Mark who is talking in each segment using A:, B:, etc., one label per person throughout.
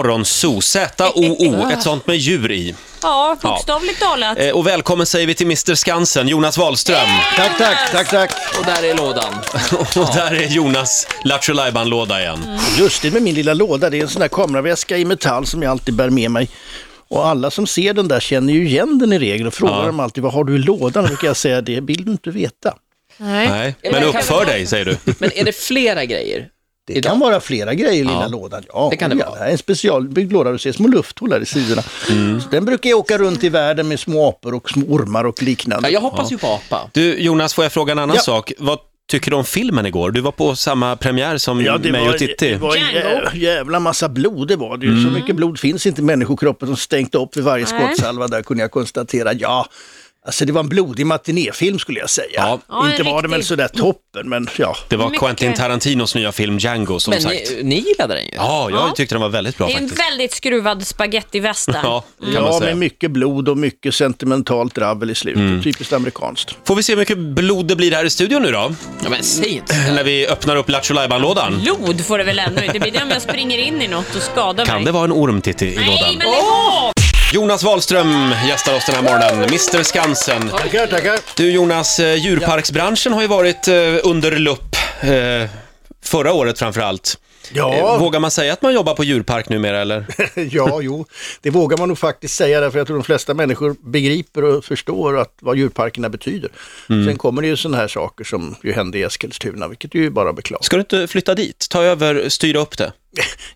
A: Morgonzoo, Z-O-O, ett sånt med djur i.
B: Ja, bokstavligt talat.
A: Eh, Och välkommen säger vi till Mr Skansen, Jonas Wahlström.
C: Tack, tack, tack, tack.
D: Och där är lådan.
A: Och där är Jonas Lattjo låda igen.
C: Just det med min lilla låda, det är en sån där kameraväska i metall som jag alltid bär med mig. Och alla som ser den där känner ju igen den i regel och frågar dem alltid vad har du i lådan? Då brukar jag säga det vill du inte veta.
B: Nej.
A: Nej, men uppför dig säger du.
D: Men är det flera grejer?
C: Det
D: Idag.
C: kan vara flera grejer i lilla lådan. Ja,
D: Det kan det
C: ja,
D: vara.
C: här är en specialbyggd låda, du ser små lufthål här i sidorna. Så den brukar jag åka runt i världen med små apor och små ormar och
D: Ja,
C: liknande.
D: jag hoppas ju på apa.
A: Du Jonas, får jag fråga en annan
C: Ja.
A: sak? Vad tycker du om filmen igår? Du var på samma premiär som mig och Titti. Mm.
C: det var en jä- jävla massa blod det var det ju. Så mycket blod finns inte i människokroppen som stängt upp vid varje
B: Nej.
C: skottsalva. Där kunde jag konstatera, ja, alltså det var en blodig matinéfilm skulle jag säga.
A: Ja.
B: Ja, en
C: inte var det väl
B: riktig.
C: sådär toppen, men ja.
A: Det var
B: Mycket.
A: Quentin Tarantinos nya film Django som
D: Men
A: sagt.
D: ni, ni gillade den ju.
A: Ja, jag
B: Ja.
A: tyckte den var väldigt bra
B: Det är en
A: faktiskt.
B: väldigt skruvad spagettiväst där.
A: Ja, kan man
C: Ja, med
A: säga. Mm.
C: mycket blod och mycket sentimentalt dravel i slutet. Typiskt amerikanskt.
A: Får vi se hur mycket blod det blir här i studion nu då?
D: Ja, men säg inte
A: När vi öppnar upp Lattjo lådan
B: Blod får det väl ändå inte bli. Det är om jag springer in i något och skadar
A: Kan
B: mig.
A: det vara en orm, Titti, i
B: Nej,
A: lådan?
B: men lägg av!
A: Jonas Wahlström gästar oss den här morgonen, Mr Skansen.
C: Tackar, tackar.
A: Du Jonas, eh, djurparksbranschen har ju varit eh, under lupp eh, förra året framför allt. Eh,
C: Ja,
A: Vågar man säga att man jobbar på djurpark numera eller?
C: ja, jo, det vågar man nog faktiskt säga därför jag tror de flesta människor begriper och förstår att, vad djurparkerna betyder.
A: Mm.
C: Sen kommer det ju sådana här saker som ju hände i Eskilstuna, vilket ju bara beklagar.
A: Ska du inte flytta dit? Ta över, styra upp det?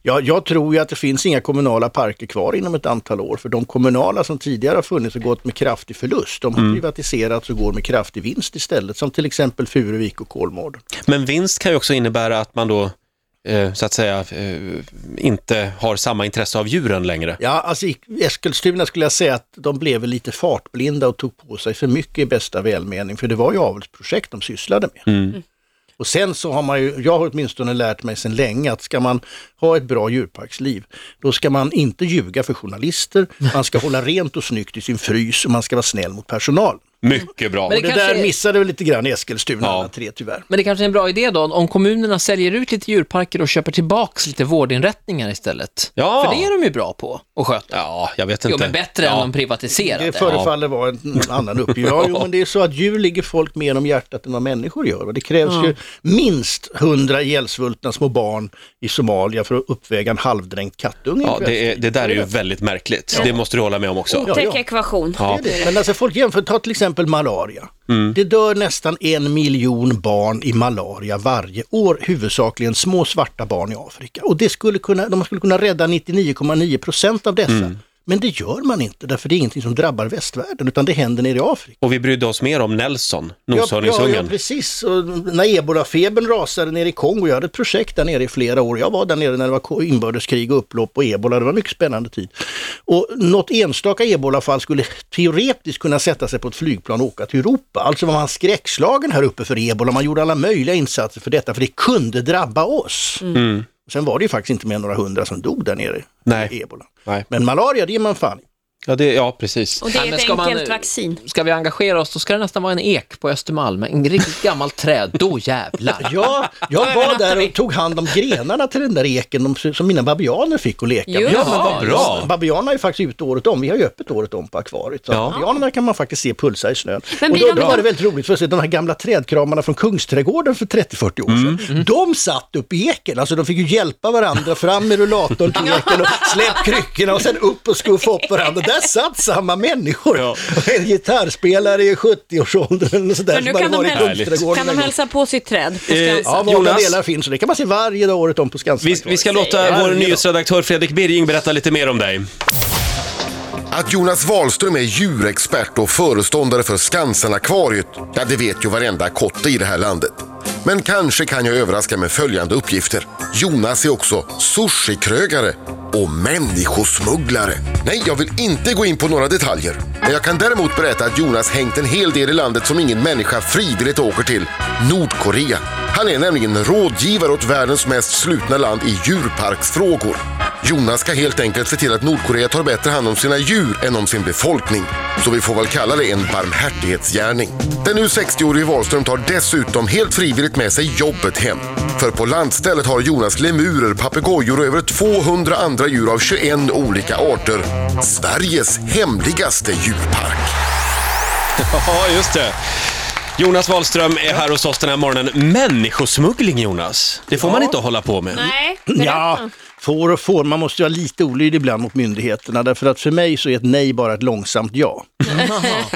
C: Ja, jag tror ju att det finns inga kommunala parker kvar inom ett antal år, för de kommunala som tidigare har funnits har gått med kraftig förlust. De har privatiserats och går med kraftig vinst istället, som till exempel Furuvik och Kolmården.
A: Men vinst kan ju också innebära att man då eh, så att säga eh, inte har samma intresse av djuren längre.
C: Ja, alltså i Eskilstuna skulle jag säga att de blev lite fartblinda och tog på sig för mycket i bästa välmening, för det var ju avelsprojekt de sysslade med. Och sen så har man ju, jag har åtminstone lärt mig sedan länge att ska man ha ett bra djurparksliv, då ska man inte ljuga för journalister, man ska hålla rent och snyggt i sin frys och man ska vara snäll mot personalen.
A: Mycket bra.
D: Men
C: Det
D: Kanske-
C: där missade vi lite grann i Eskilstuna
A: Ja.
C: alla tre tyvärr.
D: Men det kanske är en bra idé då, om kommunerna säljer ut lite djurparker och köper tillbaks lite vårdinrättningar istället.
A: Ja.
D: För det är de ju bra på att sköta.
A: Ja, jag vet inte.
D: Jo, men bättre än de privatiserade.
C: Det förefaller vara en annan uppgift. Ja, jo, men det är så att djur ligger folk mer om hjärtat än vad människor gör. Och det krävs ju minst hundra ihjälsvultna små barn i Somalia för att uppväga en halvdränkt kattunge.
A: Ja, det, är, det där är ju väldigt märkligt. Det måste du hålla med om också.
B: Otäck ekvation.
A: Ja. Mm.
C: Det. Men alltså folk jämför, ta till exempel malaria. Det dör nästan en miljon barn i malaria varje år, huvudsakligen små svarta barn i Afrika. Och det skulle kunna, de skulle kunna rädda 99,9 procent av dessa.
A: Mm.
C: Men det gör man inte, därför det är ingenting som drabbar västvärlden, utan det händer nere i Afrika.
A: Och vi brydde oss mer om Nelson,
C: Ja, ja,
A: noshörningsungen.
C: precis. Och när ebolafebern rasade ner i Kongo, jag hade ett projekt där nere i flera år. Jag var där nere när det var ko- inbördeskrig och upplopp och ebola, det var en mycket spännande tid. Och något enstaka ebolafall skulle teoretiskt kunna sätta sig på ett flygplan och åka till Europa. Alltså var man skräckslagen här uppe för ebola, man gjorde alla möjliga insatser för detta, för det kunde drabba oss. Sen var det ju faktiskt inte mer än några hundra som dog där nere i
A: Mm. Nej.
C: ebola.
A: Nej.
C: Men malaria, det är man fan i.
A: Ja, det, ja, precis.
B: Och det är
D: Ja, men
B: ett
D: ska man-
B: enkelt vaccin.
D: Ska vi engagera oss, då ska det nästan vara en ek på Östermalm, en riktigt gammalt träd. Då jävlar.
C: Ja, jag var där och tog hand om grenarna till den där eken de- som mina babianer fick att leka med.
B: Just
A: Ja, men vad bra.
C: Babianerna är faktiskt ute året om, vi har ju öppet året om på akvariet. Så
A: Ja.
C: att babianerna kan man faktiskt se pulsa i snön.
B: Men
C: och
B: blir
C: då,
B: de-
C: då var det väldigt roligt, för att se de här gamla trädkramarna från Kungsträdgården för 30-40 år sedan.
A: Mm.
C: De satt upp i eken, alltså de fick ju hjälpa varandra fram med rullatorn till eken och släpp kryckorna och sen upp och skuffa upp varandra. Där satt samma människor.
A: Ja.
C: En gitarrspelare i 70-årsåldern eller sådär.
B: Men nu
C: som hade
B: kan de,
C: varit i
B: häl-
C: Kungsträdgården
B: kan de
C: en gång.
B: hälsa på sitt träd på
A: Eh,
B: Skansen.
C: Ja, många
A: Jonas?
C: delar finns och det kan man se varje dag året om på Skansen.
A: Vi, vi ska låta
C: Varje
A: vår
C: dag.
A: nyhetsredaktör Fredrik Birging berätta lite mer om dig.
E: Att Jonas Wahlström är djurexpert och föreståndare för Skansen-akvariet, ja det vet ju varenda kotte i det här landet. Men kanske kan jag överraska med följande uppgifter. Jonas är också sushikrögare och människosmugglare. Nej, jag vill inte gå in på några detaljer. Men jag kan däremot berätta att Jonas hängt en hel del i landet som ingen människa frivilligt åker till. Nordkorea. Han är nämligen rådgivare åt världens mest slutna land i djurparksfrågor. Jonas ska helt enkelt se till att Nordkorea tar bättre hand om sina djur än om sin befolkning. Så vi får väl kalla det en barmhärtighetsgärning. Den nu 60-årige Wahlström tar dessutom helt frivilligt med sig jobbet hem. För på landstället har Jonas lemurer, papegojor och över 200 andra djur av 21 olika arter. Sveriges hemligaste djurpark.
A: Ja, just det. Jonas Wahlström är här hos oss den här morgonen. Människosmuggling, Jonas. Det får man inte hålla på med.
B: Nej,
C: Ja,
B: berätta.
C: får och får. Man måste ju vara lite olydig ibland mot myndigheterna. Därför att för mig så är ett nej bara ett långsamt ja.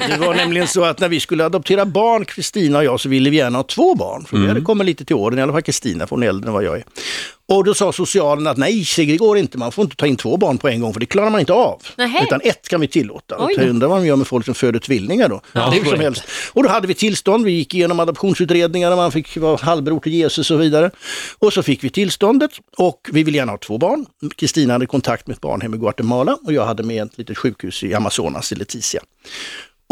C: Det var nämligen så att när vi skulle adoptera barn, Kristina och jag, så ville vi gärna ha två barn. För vi
A: Mm.
C: hade kommit lite till åren, i alla fall Kristina, för hon är äldre än vad jag är. Och då sa socialen att nej, Sigge, det går inte. Man får inte ta in två barn på en gång, för det klarar man inte av.
B: Nähä.
C: Utan ett kan vi tillåta. Och
B: Oj.
C: jag undrar vad de gör med folk som föder tvillingar då.
D: Ja, det
C: Hur
D: går
C: som
D: inte.
C: helst. Och då hade vi tillstånd, vi gick igenom adoptionsutredningar och man fick vara halvbror till Jesus och så vidare. Och så fick vi tillståndet och vi ville gärna ha två barn. Kristina hade kontakt med ett barnhem i Guatemala och jag hade med ett litet sjukhus i Amazonas, i Leticia.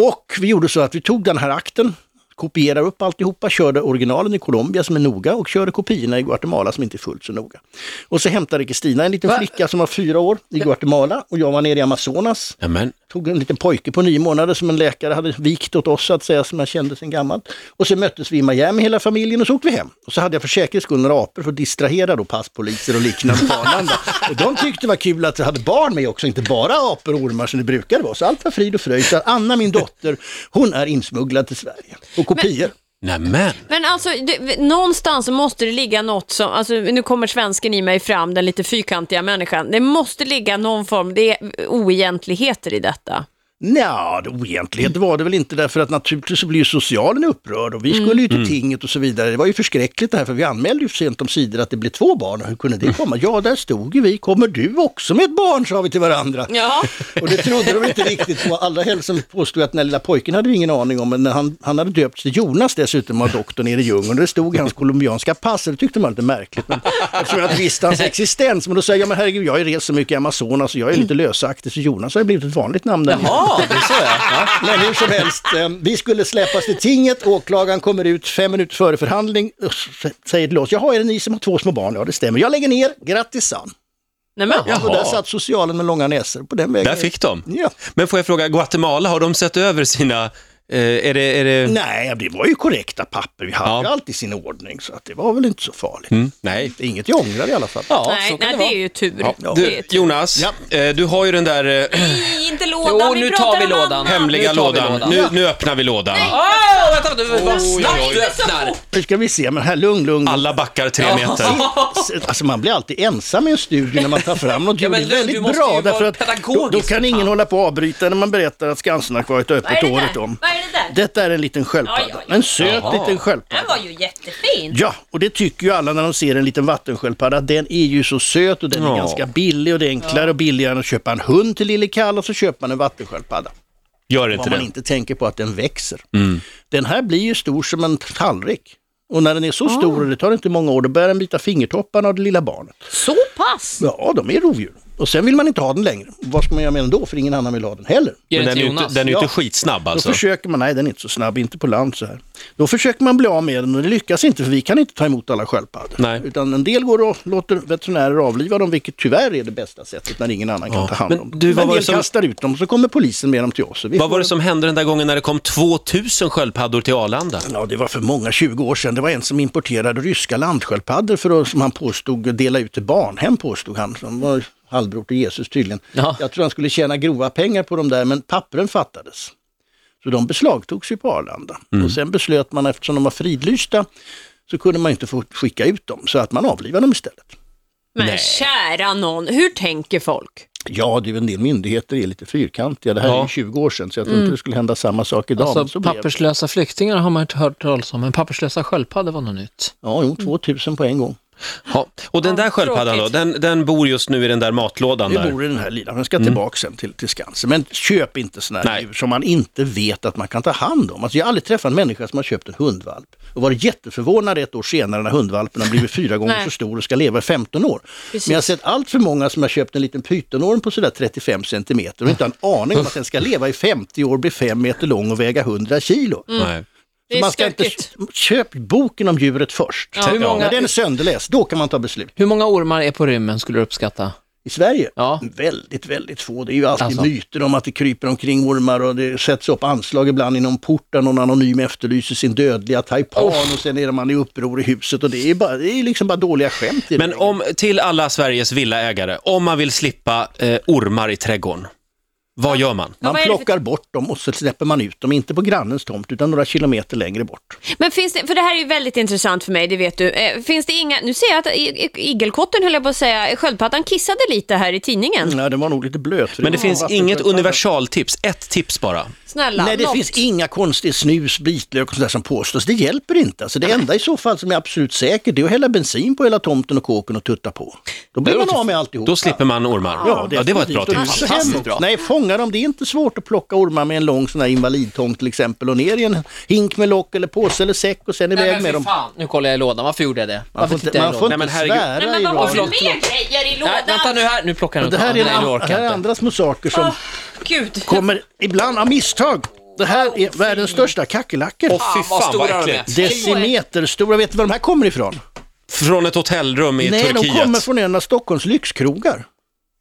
C: Och vi gjorde så att vi tog den här akten, kopierade upp alltihopa, körde originalen i Colombia som är noga och körde kopiorna i Guatemala som inte är fullt så noga. Och så hämtade Kristina en liten
D: Va?
C: flicka som var fyra år i Guatemala och jag var nere i Amazonas
A: Ja, men,
C: tog en liten pojke på nio månader som en läkare hade vikt åt oss, så att säga, som jag kände sedan gammalt. Och sen möttes vi i Miami, hela familjen, och så åkte vi hem. Och så hade jag för säkerhets skull några apor för att distrahera då passpoliser och liknande på Arlanda. Och de tyckte det var kul att jag hade barn med också, inte bara apor och ormar som det brukade vara. Så allt var frid och fröjd. Så Anna, min dotter, hon är insmugglad till Sverige. Och kopior.
A: nämen.
B: Men alltså, det, någonstans så måste det ligga något som, alltså nu kommer svensken i mig fram, den lite fyrkantiga människan. Det måste ligga någon form, det är oegentligheter i detta.
C: Nja, det oegentlighet var det väl inte därför att naturligtvis så blir ju socialen upprörd och vi skulle ju till tinget och så vidare. Det var ju förskräckligt det här för vi anmälde ju sent om sidor att det blev två barn och hur kunde det komma? Ja, där stod ju vi. Kommer du också med ett barn? sa vi till varandra.
B: Ja.
C: Och det trodde de inte riktigt på. Allra helst som påstod att den här lilla pojken hade vi ingen aning om, men han, han hade döpts till Jonas dessutom av doktorn nere i Djungeln. Det stod i hans colombianska pass, och det tyckte man var lite märkligt. Men eftersom jag inte visste hans existens, men då säger jag, men herregud, jag har ju rest så mycket i Amazonas och jag är lite lösaktig, så Jonas har ju blivit ett vanligt namn. där nere.
D: Jaha, det är så ja.
C: Men hur som helst, eh, vi skulle släppas till tinget. Åklagaren kommer ut fem minuter före förhandling och s- säger till oss, jaha, är det ni som har två små barn? Ja, det stämmer. Jag lägger ner, grattis Sam.
B: Nej, men,
A: Jaha.
C: Och där satt socialen med långa näsor på den vägen.
A: Där fick de.
C: Ja.
A: Men får jag fråga, Guatemala, har de sett över sina... Eh, är det... Är det...
C: Nej, det var ju korrekta papper. Vi hade
A: Ja.
C: ju allt i sin ordning, så att det var väl inte så farligt.
A: Mm, nej.
C: Det är inget jag ångrar i alla fall.
D: Ja,
B: nej,
D: så kan
B: nej, det är ju tur.
C: Ja.
B: Det
A: Du,
B: är tur.
A: Jonas,
C: Ja.
A: eh, du har ju den där eh,
B: Nej, inte
D: Jo,
B: lådan,
D: nu
B: vi
D: tar
B: pratar
D: vi
B: om
D: lådan.
B: annat.
A: hemliga
D: Nu tar vi
A: lådan.
D: lådan.
A: Nu, nu öppnar vi lådan.
D: Åh, vänta, du, vad snabbt du
B: Inte så
D: öppnar.
B: fort.
C: Nu ska vi se, men här, lugn, lugn.
A: Alla backar tre meter.
C: Alltså man blir alltid ensam i en studie när man tar fram något.
D: Ja, men
C: det är
D: Lund, du
C: väldigt
D: måste ju
C: bra,
D: vara
C: därför att
D: pedagogisk
C: då, då
D: för
C: kan ingen
D: fan.
C: hålla på och avbryta när man berättar att Skansenakvariet är
B: Vad är
C: öppet
B: det
C: året
B: där?
C: om.
B: Vad är det där?
C: Detta är en liten sköldpadda.
B: Oj, oj, oj.
C: En söt
A: Jaha.
C: liten sköldpadda.
B: Den var ju jättefin.
C: Ja, och det tycker ju alla när de ser en liten vattensköldpadda. Den är ju så söt och den är
A: Ja.
C: ganska billig och det är enklare och billigare än att köpa en hund till lille Kalle och så köper man en vattensköldpadda.
A: Gör inte
C: Vad man
A: det. Mm.
C: inte tänker på att den växer. Den här blir ju stor som en tallrik. Och när den är så stor, och det tar inte många år, då börjar den bita fingertopparna av det lilla barnet.
B: Så pass?
C: Ja, de är rovdjur. Och sen vill man inte ha den längre. Vad ska man göra med den då? För ingen annan vill ha den heller.
D: Ge
A: Men
D: den
A: den är
D: till
A: ju inte,
D: Jonas.
A: den är ju inte
C: Ja.
A: skitsnabb
C: Då
A: alltså.
C: försöker man, nej den är inte så snabb, inte på land så här. Då försöker man bli av med den och det lyckas inte för vi kan inte ta emot alla
A: Nej.
C: sköldpaddor. Utan en del går och låter veterinärer avliva dem, vilket tyvärr är det bästa sättet när ingen annan kan ta hand
A: Men
C: om
A: du,
C: dem.
A: vad
C: Men
A: var det
C: vi
A: som-
C: kastar ut dem så kommer polisen med dem till oss. och Vi
A: Vad var
C: får-
A: det som hände den där gången när det kom 2000 sköldpaddor till Arlanda?
C: Ja, det var för många 20 år sedan. Det var en som importerade ryska landsköldpaddor för att, som han påstod, dela ut till barnhem, påstod han. Som var halvbror till Jesus tydligen.
D: Ja.
C: Jag tror han skulle tjäna grova pengar på de där, men pappren fattades. Så de beslagtogs ju på Arlanda. Och sen beslöt man, eftersom de var fridlysta, så kunde man inte få skicka ut dem, så att man avlivade dem istället.
B: Men kära någon, hur tänker folk?
C: Ja, det är ju en del myndigheter är lite fyrkantiga. Det här är
A: Ja.
C: ju 20 år sedan, så jag tror inte det skulle hända samma sak idag. men så
D: Alltså,
C: blev det.
D: papperslösa flyktingar har man inte hört talas om, men papperslösa sköldpaddor var något nytt.
C: Ja, jo, 2000 på en gång.
A: Ja. Och den
B: Ja,
A: där sköldpaddan då,
B: tråkigt.
A: den, den bor just nu i den där matlådan
C: Det
A: där.
C: bor i den här lilla, den ska
B: Mm.
C: tillbaka sen till, till Skansen. Men köp inte sådana här
A: Nej.
C: djur som man inte vet att man kan ta hand om. Alltså, jag har aldrig träffat en människa som har köpt en hundvalp och varit jätteförvånad ett år senare när hundvalpen har blivit fyra gånger
B: Nej.
C: så stor och ska leva i 15 år.
B: Precis.
C: Men jag har sett allt för många som har köpt en liten pytonorm på sådär 35 centimeter och inte har en aning om att den ska leva i 50 år, bli 5 meter lång och väga 100 kilo.
D: Mm.
A: Nej.
B: Mm, Det är
C: man ska inte,
B: stökigt.
C: köp boken om djuret först.
D: Hur,
C: När
D: många,
C: den är sönderläst, då kan man ta beslut.
D: hur många ormar är på rymmen skulle du uppskatta?
C: i Sverige.
D: Ja.
C: Väldigt, väldigt få. Det är ju alltid
D: Alltså.
C: myter om att det kryper omkring ormar och det sätts upp anslag ibland i någon port där någon anonym efterlyser sin dödliga taipan och sen är det man i uppror i huset och det är, bara, det är liksom bara dåliga skämt. I
A: Men
C: det.
A: om, till alla Sveriges villaägare, om man vill slippa eh, ormar i trädgården, vad gör man?
B: Men
C: Man
B: vad är det för-
C: plockar bort dem och så släpper man ut dem, inte på grannens tomt utan några kilometer längre bort.
B: Men finns det, för det här är ju väldigt intressant för mig, det vet du. Eh, finns det inga, nu ser jag att i- i- igelkotten höll jag på att säga, sköldpaddan kissade lite här i tidningen.
C: Nej, den var nog lite blöt. för
A: Mm. Men det
C: var
A: finns
C: vatten-
A: inget universaltips, ett tips bara.
B: Snälla,
C: Nej, det
B: något.
C: finns inga konstiga snus, vitlök och sådär som påstås. Det hjälper inte. Alltså, det enda i så fall som är absolut säkert det är att hälla bensin på hela tomten och kåken och tutta på. Då blir man av med alltihop.
A: Då slipper man ormar. Ja, det, var ett bra tips.
C: definitivt. Och det är så
D: Fantastiskt
C: hemskt.
D: bra.
C: Nej, fånga dem. Det är inte svårt att plocka ormar med en lång sån här invalidtång till exempel och ner i en hink med lock eller påse eller säck och sen iväg med dem.
D: fan. Nu kollar jag i lådan, varför gjorde jag det?
C: Man får
D: Varför tittade
C: inte,
D: jag
C: man
D: i
C: får
D: lådan?
A: Nej,
C: inte
A: men herregud.
C: svära
B: Nej,
C: i
B: men vad har
C: radio.
B: du mer grejer i
D: Nej,
B: lådan?
D: vänta nu här, nu plockar jag
C: Det
D: ut
C: här
D: den.
C: är,
D: Nej,
C: en,
D: nu
C: an-
D: orkar
C: här
D: jag
C: är
D: inte.
C: andra små saker som
B: Åh, Gud.
C: kommer ibland av misstag. Det här är världens största kackerlackor.
A: Åh fy
D: vad
A: fan vad
D: stora de är.
A: äckligt.
C: Decimeter stora, vet du var de här kommer ifrån?
A: Från ett hotellrum i
C: Nej,
A: Turkiet.
C: de kommer från en av Stockholms lyxkrogar.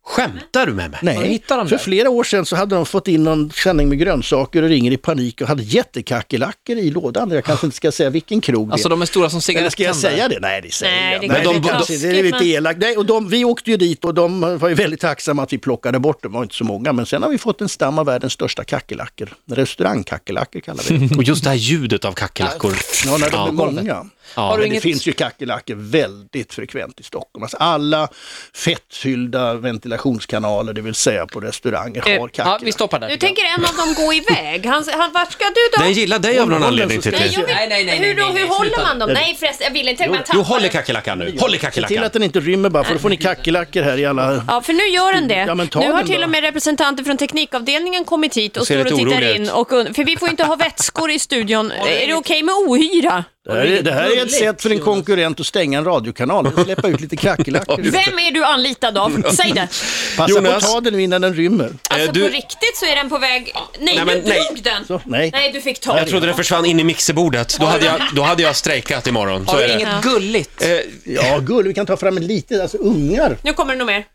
A: Skämtar du med mig?
C: Nej,
D: Var hittar de
C: för
D: det?
C: flera år sedan så hade de fått in någon sändning med grönsaker och ringer i panik och hade jättekackerlackor i lådan. Jag kanske inte ska säga vilken krog det är.
D: Alltså de är stora som
C: Eller ska jag
D: cigarettändare.
C: säga det? Nej, det säger
B: Nej,
C: jag
B: det
C: inte.
A: är
C: Nej,
A: lite
C: kanske-
B: taskigt,
C: det är lite
B: men-
C: elakt. Nej, och de, vi åkte ju dit och de var ju väldigt tacksamma att vi plockade bort dem. Det var inte så många, men sen har vi fått en stam av världens största kackerlackor. Restaurangkackerlackor kallar vi det.
A: Och just det här ljudet av kackerlackor.
C: Ja, när de är
A: Ja.
C: många.
D: Har du
C: Men
D: inget...
C: det finns ju kackerlackor väldigt frekvent i Stockholm. Alltså alla fettfyllda ventilationskanaler, det vill säga på restauranger,
B: Eh,
C: har
D: Ja,
C: kackerlackor.
D: vi stoppar där.
B: Nu tänker en av dem gå iväg. Han, han, vart ska du då?
A: Den gillar dig av någon anledning,
C: Nej,
A: Titti.
B: jag vill,
D: Nej, nej, nej,
B: hur då,
D: nej, nej,
B: hur håller
D: sluta.
B: man dem? Nej förresten, jag vill inte. Tänk man
A: Jo,
B: tappar
A: håll i
B: den.
A: kackerlackan nu. Håll i
C: Se till
A: kackerlackan.
C: att den inte rymmer bara, för då får ni kackerlackor här i alla...
B: Ja, för nu gör den det.
C: Ja, men ta
B: nu har
C: den
B: till
C: då.
B: och med representanter från teknikavdelningen kommit hit och
A: ser
B: står
A: lite
B: och tittar
A: oroliga
B: in.
A: ut.
B: Och, und- för vi får inte ha vätskor i studion. är det okej med ohyra?
C: Det här, är, det här är ett sätt för en konkurrent att stänga en radiokanal, att släppa ut lite kackerlackor.
B: Vem är du anlitad av? Säg det.
C: Passa på att
A: Jonas?
C: ta den nu innan den rymmer.
B: Alltså
A: Eh, du-
B: på riktigt så är den på väg... Nej,
A: Nej, men
B: du drog
A: nej.
B: den!
C: Så, nej.
B: nej, du fick ta
A: Jag trodde den försvann in i mixerbordet. Då hade jag, då hade jag strejkat imorgon. Så
D: Har
A: är
D: du
A: det.
D: inget gulligt?
C: Ja, gull, vi kan ta fram en liten, alltså ungar.
B: Nu kommer det nog mer.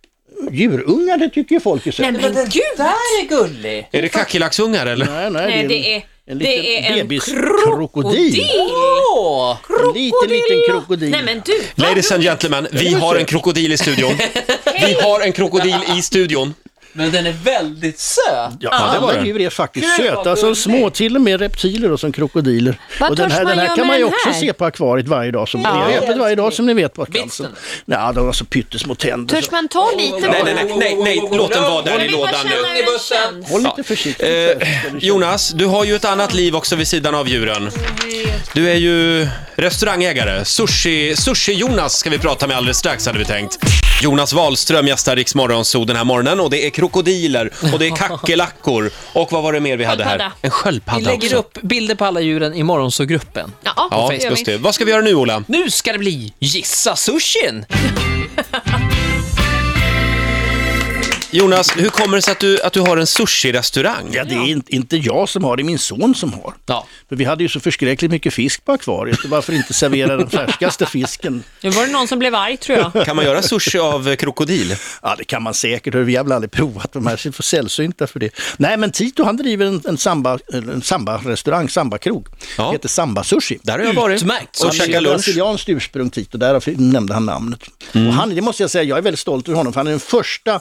C: Djurungar, det tycker ju folk är så.
B: Nej, men gud!
D: där är gullig!
A: Är det kackerlacksungar eller?
C: Nej,
B: Nej,
C: en-
B: det är...
C: en liten
B: det är en
C: bebiskrokodil.
D: Åh!
C: En liten, liten krokodil.
B: Nej, men du! vad
A: Ladies and
B: roligt.
A: gentlemen, vi har en krokodil i studion. Vi har en krokodil i studion.
D: Men den är väldigt söt!
C: Ja,
A: Ja, det var
C: alla
A: den.
C: djur är faktiskt
D: Gud, vad
C: söta som
D: gulligt.
C: små, till och med reptiler och som krokodiler.
B: Vad
C: och den
B: törs
C: här,
B: man
C: den här
B: göra med
C: kan man ju
B: den
C: också
B: här?
C: se på akvariet varje dag, som
B: Ja.
C: det är öppet varje dag som ni vet på
D: Vitsen.
C: Skansen. Nej, de har så pyttesmå tänder.
B: Törs
C: så-
B: man ta lite?
A: Nej, nej, nej, nej, nej. låt den vara där i lådan nu.
D: i bussen.
C: Håll lite försiktigt.
A: Eh, Jonas, du har ju ett annat liv också vid sidan av djuren. Du är ju restaurangägare. Sushi- Sushi-Jonas ska vi prata med alldeles strax hade vi tänkt. Jonas Wahlström gästar Rix Morgonzoo den här morgonen och det är krokodiler och det är kackerlackor och vad var det mer vi hade här?
B: Sköldpadda.
A: En
D: Vi
A: sköldpadda
D: lägger
A: också.
D: upp bilder på alla djuren i morgonsågruppen.
B: Ja,
A: Ja,
B: det gör
A: just
B: vi.
A: det. Vad ska vi göra nu, Ola?
D: Nu ska det bli Gissa sushin!
A: Jonas, hur kommer det sig att du, att du har en sushi-restaurang?
C: Ja, det är inte- inte jag som har det, det är min son som har.
D: Ja.
C: För vi hade ju så förskräckligt mycket fisk på akvariet, så varför inte servera den färskaste fisken?
B: Nu var det någon som blev arg tror jag.
A: Kan man göra sushi av eh, krokodil?
C: Ja, det kan man säkert. hörru, Vi har väl aldrig provat de här, så vi är för sällsynta för det. Nej, men Tito han driver en, en, samba, eller en samba-restaurang, samba-krog.
A: Ja.
C: Det heter Samba Sushi.
A: Där har jag varit
D: Utmärkt.
A: och
C: Han är
A: käkat
C: ju
A: lunch. Mm.
C: brasilianskt ursprung Tito, därav nämnde han namnet. Och han, det måste jag säga, jag är väldigt stolt över honom, för han är den första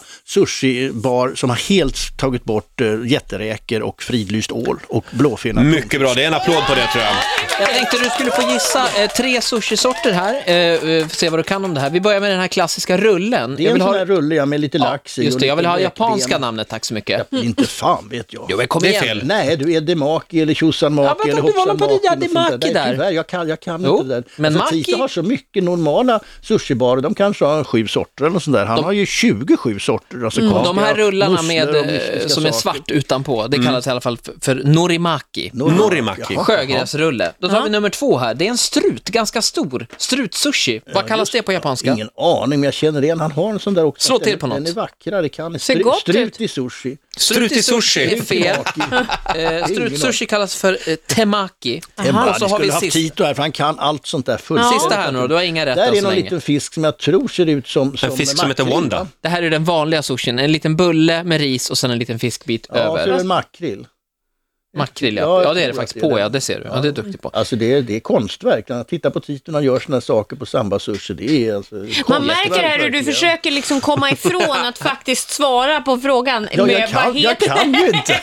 C: sushibar som har helt tagit bort uh, jätteräkor och fridlyst ål och blåfinna.
A: Mycket bra, det är en applåd på det tror jag.
D: Jag tänkte du skulle få gissa eh, tre sushisorter här, eh, eh, se vad du kan om det här. Vi börjar med den här klassiska rullen.
C: Det är en sån här rulle ja, med lite lax i. och
D: Just det, jag
C: lite
D: vill ha
C: räkben.
D: japanska namnet, tack så mycket.
C: Inte fan vet jag.
D: Jo, men kom
A: Det är
D: igen.
A: fel.
C: Nej, du är Demaki eller
D: Ja,
C: Tjosanmaki
D: men
C: eller
D: du var
C: Hoppsanmaki.
D: nog på det där
C: och sånt
D: Demaki
C: Nej,
D: där.
C: Tyvärr, jag kan, jag kan
D: Jo,
C: inte det där.
D: men Maki-
C: Tito har så mycket normala sushibarer, de kanske har sju sorter eller något sånt där. Han har ju 27 sorter, alltså
D: Och Mm, de här
C: konstiga
D: rullarna
C: musslor
D: med,
C: och mystiska
D: eh, som är
C: saker. Mm.
D: svart utanpå, det kallas i alla fall för- för norimaki.
A: Norimaki.
D: Sjögräsrulle. Då tar vi nummer två här. Det är en strut, ganska stor. Strutsushi. Vad kallas det på japanska?
C: Ingen aning, men jag känner igen. Han har en sån där också.
D: Slå till
C: Den-
D: på något.
C: Den är vackrare. Kan
B: Ser
C: Stru-
B: gott
C: Strut i sushi.
A: Strut i
D: är
A: sushi.
D: fel. Eh,
C: ingen
D: Strutsushi kallas för eh, temaki.
C: Emma,
D: Och så Alltså, har vi
C: haft
D: sist,
C: Tito här, för han kan allt sånt där fullständigt.
D: sista här nu då. Du har inga rätt
C: Där
D: än
C: är
D: så
C: någon
D: länge.
C: liten fisk som jag tror ser ut som... som
A: En fisk som heter
C: makrill,
A: Wanda.
C: va?
D: Det här är den vanliga sushin. En liten bulle med ris och sen en liten fiskbit
C: Ja, så är det en
D: över.
C: makrill.
D: Makrill,
C: Ja,
D: ja.
C: jag
D: Ja, det
C: tror
D: är det
C: att
D: faktiskt.
C: det är
D: På,
C: det.
D: ja. Det ser du. Ja, det är du duktig på.
C: Alltså det är, det är konstverk. När jag tittar på Tito när han gör såna här saker på sambasushi, det är alltså
B: Man märker här hur du försöker liksom komma ifrån att faktiskt svara på frågan.
C: Ja,
B: med
C: jag kan,
B: vad
C: jag
B: heter
C: kan ju inte.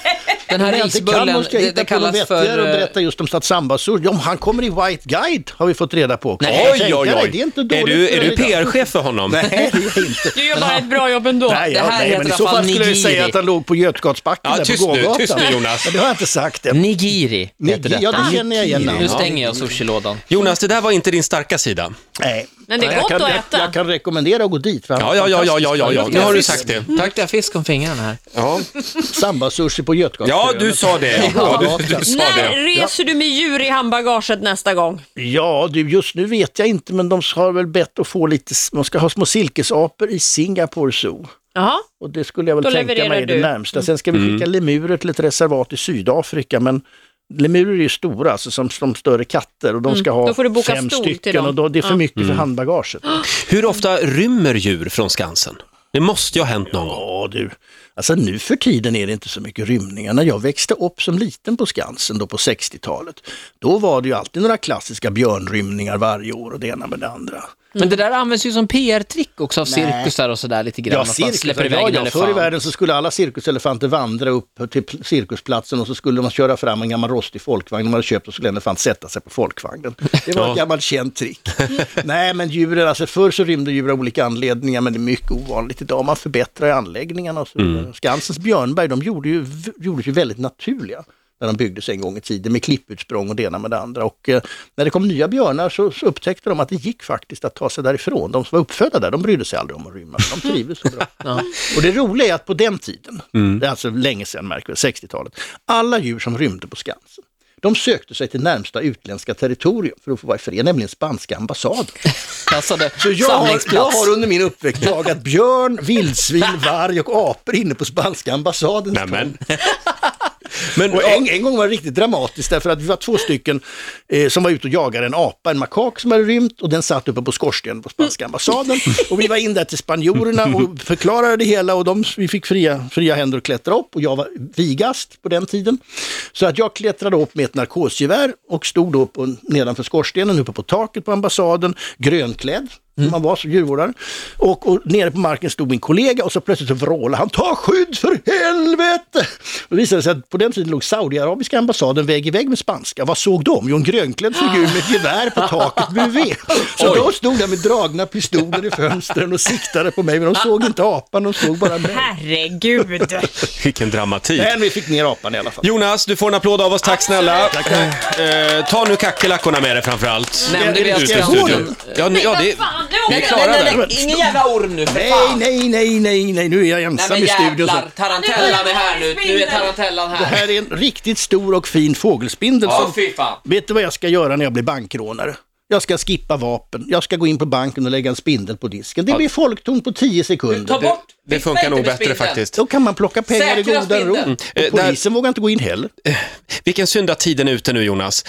D: Den här
C: Om jag inte kan
D: risbullen,
C: måste jag
D: det,
C: hitta
D: det
C: på något
D: kallas
C: vettigare och
D: för... eh,
C: berätta just om satsambasushi. Ja, men han kommer i White Guide har vi fått reda på. Kan
A: Oj,
C: du
A: oj,
C: tänka
A: oj.
C: dig? Det är inte dåligt.
A: Är du,
C: för
A: är du
C: en-
A: PR-chef för honom?
C: Nej, det är jag inte.
B: Du gör bara ett bra jobb ändå.
C: Nej,
D: Det
C: ja,
D: här
C: nej,
D: heter
C: men
D: i
C: i så
D: alla
C: fall
D: fall
C: skulle jag ju
D: nigiri.
C: säga att han låg på Götgatsbacken
A: Ja,
C: där
A: tyst
C: på
A: nu,
C: gågatan.
A: tyst nu, Jonas.
C: Men det har jag inte sagt än.
D: eh, Nigiri heter
C: Nigiri, ja,
D: detta.
C: det känner jag igen
D: Nu
C: namnet.
D: stänger jag sushilådan.
A: Jonas, det där var inte din starka sida.
C: Nej.
B: Men det är
C: Nej, jag
B: gott
C: kan,
B: att
C: jag-
B: äta.
C: Jag kan rekommendera att gå dit. för han
A: Ja,
C: har
A: ja, ja, ja, ja, ja, ja.
C: fantastiskt-
A: Nu har du sagt det.
D: Tack, jag fisk om fingrarna här.
A: Ja,
C: Sambasushi på Götgatan.
A: ja du sa det. Ja, du, du sa
B: När
A: det.
B: reser du med djur i handbagaget nästa gång?
C: Ja, du, just nu vet jag inte, men de har väl bett att få lite, de ska ha små silkesapor i Singapore Zoo.
B: Jaha.
C: Och det skulle jag väl
B: Då
C: tänka mig
B: levererar
C: är det
B: du.
C: närmsta. Sen ska vi skicka lemurer till ett reservat i Sydafrika, men lemurer är ju stora, alltså som, som större katter och de ska ha
B: Då får du boka
C: fem
B: stol till
C: stycken
B: dem.
C: och då, det är för mycket
A: Mm.
C: för handbagaget.
A: Hur ofta rymmer djur från Skansen? Det måste ju ha hänt någon gång.
C: Ja du, alltså nu för tiden är det inte så mycket rymningar. När jag växte upp som liten på Skansen då på 60-talet, då var det ju alltid några klassiska björnrymningar varje år och det ena med det andra.
D: Men det där används ju som PR-trick också av cirkusar och sådär lite grann. att man släpper iväg
C: ja,
D: en
C: ja, förr i
D: elefant.
C: världen så skulle alla cirkuselefanter vandra upp till pl- cirkusplatsen och så skulle man köra fram en gammal rostig folkvagn de hade köpt och så skulle en elefant sätta sig på folkvagnen. Det var ett gammalt känt trick. Nej men djuren, alltså förr så rymde djur av olika anledningar men det är mycket ovanligt idag. Man förbättrar ju anläggningarna och så vidare.
D: Mm.
C: Skansens Björnberg, de gjorde ju, v- gjordes ju väldigt naturliga när de byggdes en gång i tiden med klipputsprång och det ena med det andra. Och eh, när det kom nya björnar så, så upptäckte de att det gick faktiskt att ta sig därifrån. De som var uppfödda där, de brydde sig aldrig om att rymma. De trivdes så bra. Och det roliga är att på den tiden, det är alltså länge sedan märker vi, 60-talet, alla djur som rymde på Skansen de sökte sig till närmsta utländska territorium för att få vara i fred, nämligen spanska ambassaden.
D: Passade
C: Så jag har, jag
D: samlingsplats.
C: har under min uppväxt jagat björn, vildsvin, varg och apor inne på spanska ambassaden.
A: Nämen. Men,
C: Och en, en gång var det riktigt dramatiskt därför att vi var två stycken eh, som var ute och jagade en apa, en makak som hade rymt och den satt uppe på skorstenen på spanska ambassaden. Och vi var in där till spanjorerna och förklarade det hela och de, vi fick fria, fria händer att klättra upp och jag var vigast på den tiden. Så att jag klättrade upp med ett narkosgevär och stod upp och, nedanför skorstenen uppe på taket på ambassaden, grönklädd. som Mm. Man var som djurvårdare. Och, och nere på marken stod min kollega och så plötsligt så vrålade han Ta skydd för helvete! Och det visade sig att på den tiden låg Saudiarabiska ambassaden vägg i vägg med spanska. Vad såg de? Jo, en grönklädd figur med ett gevär på taket bredvid. Så de stod där med dragna pistoler i fönstren och siktade på mig. Men de såg inte apan, de såg bara mig.
B: Herregud.
A: vilken dramatik.
C: Men vi fick ner apan i alla fall.
A: Jonas, du får en applåd av oss. Tack snälla. Eh, ta nu kackerlackorna med dig framför allt.
D: Nämnde vi att
A: Ut ur
C: Skansen-
A: studion. Ja, nu- ja, det, vi är klara där.
D: Ingen jävla orm nu, för
C: Nej, nej, nej, nej, nej, nu är jag ensam i studion. så-
D: tarantellan är här nu. Nu är tarantellan
C: Det här är en riktigt stor och fin fågelspindel.
D: Ja,
C: som-
D: fy fan.
C: Vet du vad jag ska göra när jag blir bankrånare? Jag ska skippa vapen. Jag ska gå in på banken och lägga en spindel på disken. Det blir folktomt på 10 sekunder.
A: Det funkar nog bättre faktiskt.
C: Då kan man plocka pengar i
D: Säkra
C: goda ro.
D: spindeln.
C: Och
A: Eh, där-
C: Polisen vågar inte gå in heller.
A: Vilken synd att tiden är ute nu Jonas.